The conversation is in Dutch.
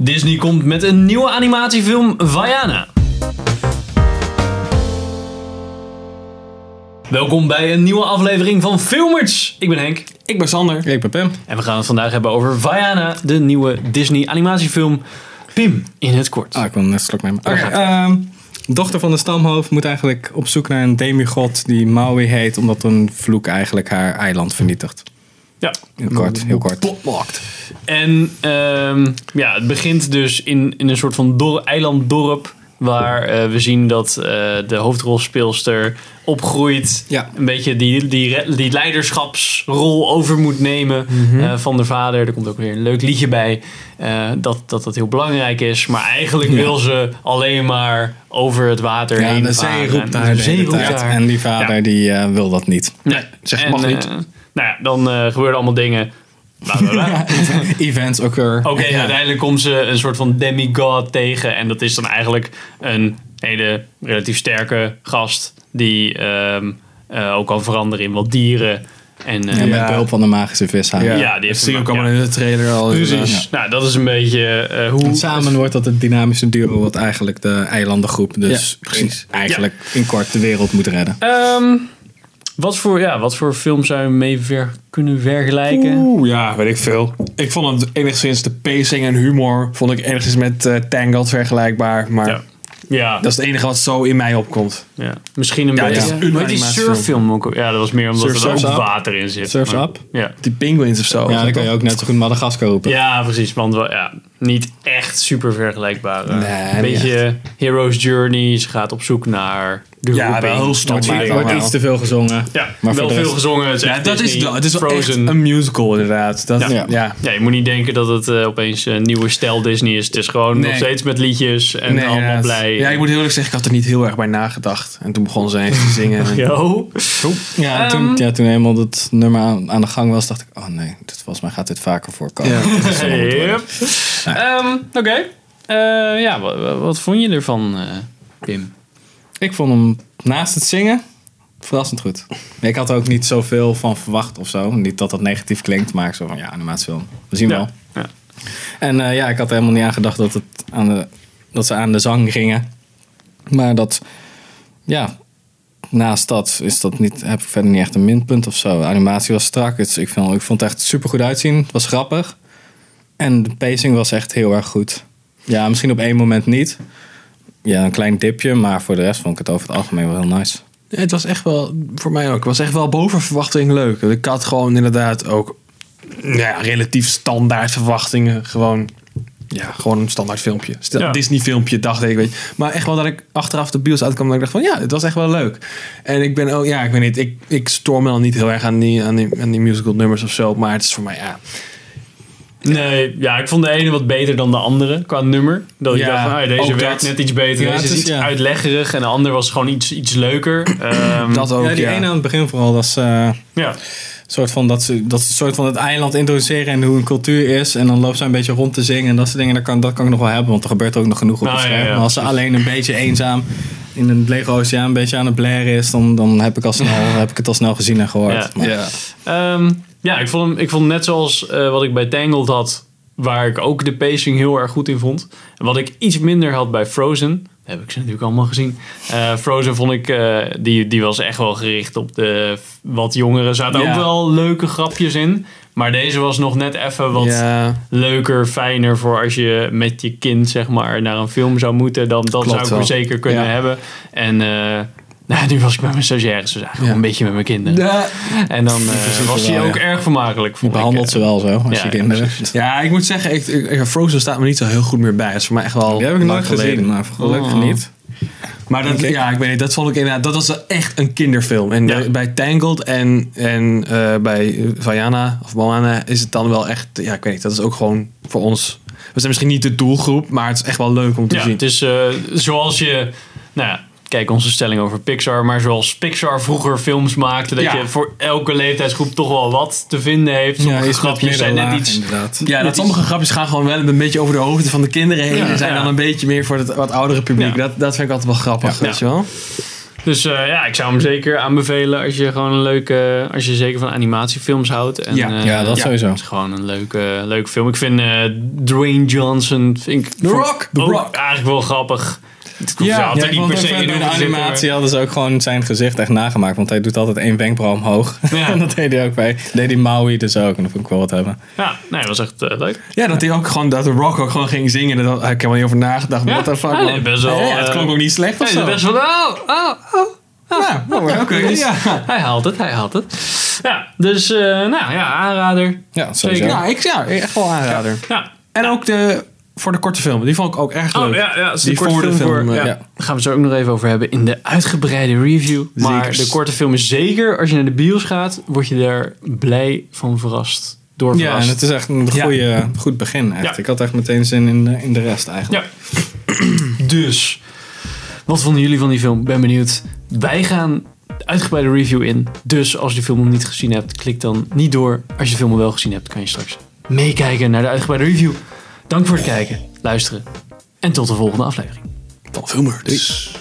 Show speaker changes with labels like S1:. S1: Disney komt met een nieuwe animatiefilm, Vaiana. Welkom bij een nieuwe aflevering van Filmers. Ik ben Henk
S2: Ik ben Sander.
S3: Ik ben Pim.
S1: en we gaan het vandaag hebben over Vaiana, de nieuwe Disney animatiefilm. Pim, in het kort.
S3: Ah, ik wil net slok nemen. Oké,
S1: gaat-ie.
S3: ehm, dochter van de stamhoofd moet eigenlijk op zoek naar een demigod die Maui heet, omdat een vloek eigenlijk haar eiland vernietigt.
S1: Ja.
S3: Heel kort, heel kort.
S1: En ehm, ja, het begint dus in, in een soort van dor- eilanddorp. Waar eh, we zien dat eh, de hoofdrolspeelster opgroeit.
S3: Ja.
S1: Een beetje die, die, re- die leiderschapsrol over moet nemen
S3: Mhm.
S1: eh, van de vader. Er komt ook weer een leuk liedje bij. eh, dat, dat dat heel belangrijk is. Maar eigenlijk wil ze alleen maar over het water
S3: Ja,
S1: heen
S3: de
S1: varen.
S3: zee roept
S1: De
S3: daar de
S1: zee
S3: hele
S1: roept
S3: tijd.
S1: haar.
S3: En die vader die eh, wil dat niet.
S1: Nee.
S3: zeg,
S1: En,
S3: mag niet.
S1: eh, nou ja, dan eh, gebeuren allemaal dingen. Bla, bla, bla.
S3: Events occur.
S1: Oké, en
S3: ja.
S1: uiteindelijk komt ze een soort van demigod tegen. En dat is dan eigenlijk een hele relatief sterke gast. Die ehm, eh, ook kan veranderen in wat dieren. En, eh,
S3: En
S1: ja.
S3: met behulp van de magische vishaar.
S1: die heeft
S2: dat
S1: hem
S2: zie je
S1: ook,
S2: ook allemaal
S1: ja.
S2: in de trailer al.
S1: Precies. Nou, dat is een beetje eh, hoe...
S3: En Samen wordt dat het dynamische duo wat eigenlijk de eilandengroep dus
S2: Ja, precies.
S3: eigenlijk in kort de wereld moet redden.
S1: Ehm, wat, voor, ja, wat voor film zou je mee ver, kunnen vergelijken?
S2: Oeh, ja, weet ik veel. Ik vond het enigszins de pacing en humor vond ik enigszins met eh, Tangled vergelijkbaar. Maar
S1: Ja. Ja,
S2: dat is het enige wat zo in mij opkomt.
S1: ja, misschien een
S2: Ja, het
S1: beetje...
S2: is
S1: Ja.
S2: een
S1: Maar die
S2: animatiefilm.
S1: surffilm ook... al- Ja, dat was meer omdat
S3: Surf's
S1: er ook
S3: Up.
S1: water in zit.
S3: Surf's
S1: maar-
S3: Up?
S1: Ja.
S2: Die penguins of zo.
S3: Ja, dan kan je ook net zo goed Madagaskar roepen.
S1: Ja, precies. Want wel, ja, niet echt super vergelijkbaar. eh.
S3: Nee,
S1: een
S3: niet
S1: beetje Hero's Journey. Ze gaat op zoek naar de
S2: Ja,
S1: roeping.
S2: wel heel
S3: Wordt-
S2: standaard.
S3: wordt
S2: allemaal.
S3: iets te veel gezongen.
S1: Ja, wel
S3: Maar voor de
S1: veel
S3: rest-
S1: gezongen. Het is
S2: Ja,
S1: echt
S2: dat is,
S1: Disney,
S2: wel- het is wel echt
S1: Frozen.
S2: een musical inderdaad. Dat,
S3: Ja.
S2: ja.
S1: Ja, je moet niet denken dat het eh, opeens een nieuwe stijl Disney is. Het is gewoon
S2: Nee.
S1: nog steeds met liedjes en
S2: Nee,
S1: allemaal
S2: inderdaad.
S1: blij.
S2: Ja, ik moet heel eerlijk zeggen, ik had er niet heel erg bij nagedacht. En toen begon ze eens te zingen.
S1: Yo.
S3: Ja, en
S1: Ehm.
S3: toen, ja, toen eenmaal dat nummer aan, aan de gang was, dacht ik, oh nee, dit, volgens mij gaat dit vaker voorkomen.
S2: Ja.
S3: Dat is wel wat worden.
S1: Yep. Ehm, Oké. Eh, ja, wa- wa- wat, vond je ervan, eh Pim?
S3: Ik vond hem naast het zingen verrassend goed. Ik had er ook niet zoveel van verwacht of zo. Niet dat dat negatief klinkt, maar ik zo van ja, animatiefilm. We zien
S1: Ja.
S3: wel.
S1: Ja.
S3: En eh, ja, ik had er helemaal niet aan gedacht dat, het aan de, dat ze aan de zang gingen. Maar dat, ja, naast dat is dat niet, heb ik verder niet echt een minpunt of zo. De animatie was strak. Het, ik, vond, ik vond het echt super goed uitzien. Het was grappig. En de pacing was echt heel erg goed. Ja, misschien op één moment niet. Ja, een klein dipje, maar voor de rest vond ik het over het algemeen wel heel nice.
S2: Ja, Het was echt wel, voor mij ook, het was echt wel boven verwachting leuk. Ik had gewoon inderdaad ook nou ja, relatief standaard verwachtingen. Gewoon, ja, gewoon een standaard filmpje. Stel,
S1: Ja.
S2: Disney filmpje dacht ik, weet je. Maar echt wel dat ik achteraf de bios uitkwam dat ik dacht van ja, het was echt wel leuk. En ik ben ook, ja, ik weet niet, ik, ik stoor me dan niet heel erg aan die, aan, die, aan die musical nummers of zo. Maar het is voor mij, ja.
S1: Nee, ja, ik vond de ene wat beter dan de andere qua nummer. Dat ik
S2: Ja,
S1: dacht, van, ah, deze
S2: ook
S1: werkt
S2: dat.
S1: net iets beter,
S3: Ja,
S1: deze
S3: het
S1: is,
S3: is-
S1: iets
S3: ja.
S1: uitleggerig en de ander was gewoon iets, iets leuker. Ehm,
S2: Dat ook,
S3: ja, die ene aan het begin vooral, dat is... eh,
S1: ja.
S3: soort van dat ze, dat ze soort van het eiland introduceren en hoe een cultuur is. En dan loopt ze een beetje rond te zingen en dat soort dingen. Dat kan, dat kan ik nog wel hebben, want er gebeurt ook nog genoeg op
S1: Nou,
S3: het
S1: ja,
S3: scherm.
S1: ja,
S3: maar als ze alleen een beetje eenzaam in een lege oceaan een beetje aan het blaren is, dan, dan heb, ik al snel, heb ik het al snel gezien en gehoord.
S1: Ja.
S3: Maar-
S2: Ja.
S1: Ehm, ja, ik vond hem ik vond hem net zoals eh, wat ik bij Tangled had, waar ik ook de pacing heel erg goed in vond. En wat ik iets minder had bij Frozen, heb ik ze natuurlijk allemaal gezien. Eh, Frozen vond ik, eh, die, die was echt wel gericht op de f- wat jongeren. Er zaten
S2: Ja.
S1: ook wel leuke grapjes in, maar deze was nog net even wat...
S2: ja.
S1: leuker, fijner voor als je met je kind zeg maar naar een film zou moeten. Dan dat
S2: Klopt
S1: zou ik hem
S2: wel.
S1: zeker kunnen
S2: Ja.
S1: hebben. En eh, nou, nu was ik met mijn stagiaires, dus eigenlijk
S2: Ja.
S1: een beetje met mijn kinderen. En dan eh, was hij
S3: wel,
S1: ook
S3: ja.
S1: erg vermakelijk.
S3: Je
S1: Vond
S3: behandelt
S1: ik, eh.
S3: ze wel zo, als
S1: ja,
S3: je kinderen.
S2: Ja, ik moet zeggen, ik, ik- Frozen staat me niet zo heel goed meer bij. Het is voor mij echt wel.
S3: Die heb ik
S2: lang
S3: nooit
S2: geleden.
S3: gezien, maar gelukkig
S1: Oh.
S3: niet.
S2: Maar dat,
S3: Denk ik.
S2: ja, ik weet niet, dat vond ik inderdaad, dat was echt een kinderfilm. En
S1: Ja.
S2: bij- bij Tangled en, en eh, bij eh, Vaiana of Moana is het dan wel echt, ja, ik weet niet, dat is ook gewoon voor ons. We zijn misschien niet de doelgroep, maar het is echt wel leuk om te
S1: ja,
S2: zien.
S1: het is eh, zoals je, nou ja, kijk onze stelling over Pixar, maar zoals Pixar vroeger films maakte, dat
S2: Ja.
S1: je voor elke leeftijdsgroep toch wel wat te vinden heeft. Sommige
S3: iets met
S1: grapjes zijn net
S3: middenlaag,
S1: iets
S3: Inderdaad.
S2: Ja,
S1: dat
S2: dat
S1: is-
S2: sommige grapjes gaan gewoon wel een beetje over de hoofden van de kinderen heen.
S1: Ja.
S2: en zijn
S1: Ja.
S2: dan een beetje meer voor het wat oudere
S1: Ja.
S2: publiek. Dat, dat vind ik altijd wel grappig,
S1: Ja.
S2: weet je wel.
S1: Dus eh, ja, ik zou hem zeker aanbevelen als je gewoon een leuke, als je zeker van animatiefilms houdt. En,
S2: Ja,
S1: eh,
S3: ja, dat sowieso.
S1: Het is gewoon een leuke, leuke film. Ik vind eh, Dwayne Johnson, vind ik,
S2: The
S1: vond
S2: Rock, The
S1: ook
S2: Rock.
S1: eigenlijk wel grappig.
S2: Ja,
S1: ja,
S3: Ja, ik vond
S1: niet per
S3: ook
S1: se
S3: vet,
S1: in
S3: bij de
S1: hoeven zitten,
S3: animatie hadden ze ook gewoon zijn gezicht echt nagemaakt. Want hij doet altijd één wenkbrauw omhoog.
S1: Ja.
S3: en dat deed hij ook bij. Deed hij Maui dus ook. En dat vond ik wel wat hebben.
S1: maar- Ja, nee, dat was echt eh, leuk.
S2: Ja, dat hij ook gewoon, dat de Rock ook gewoon ging zingen. Dat, ik heb er helemaal niet over nagedacht.
S1: Ja,
S2: What the fuck,
S1: hij
S2: man.
S1: deed best wel,
S2: Ja, ja, het
S1: eh,
S2: klonk ook niet slecht
S1: Hij
S2: of
S1: is
S2: zo.
S1: best wel, oh, oh, oh. Dus
S2: Ja, oké. ja.
S1: Hij haalt het, hij haalt het. Ja, dus eh, nou ja, aanrader.
S3: Ja, sowieso.
S1: Zeker.
S2: Ja, ik, ja, echt wel aanrader.
S1: Ja.
S2: En ook de, voor de korte film. Die vond ik ook erg leuk.
S1: Oh ja, ja het is de
S2: Die
S1: korte
S2: voor de
S1: film.
S2: film,
S1: voor, ja.
S3: ja.
S2: eh,
S1: Daar gaan we het zo ook nog even over hebben in de uitgebreide review. Maar
S2: Zekers.
S1: de korte film is zeker, als je naar de bios gaat, word je daar blij van verrast. Door
S3: Ja, en
S1: verrast.
S3: het is echt een goede, goed begin echt.
S1: Ja.
S3: Ik had echt meteen zin in de, in de rest eigenlijk.
S1: Ja. dus, wat vonden jullie van die film? Ben benieuwd. Wij gaan de uitgebreide review in. Dus als je de film nog niet gezien hebt, klik dan niet door. Als je de film al wel gezien hebt, kan je straks meekijken naar de uitgebreide review. Dank voor het kijken, luisteren en tot de volgende aflevering.
S2: Van Filmer. Dus.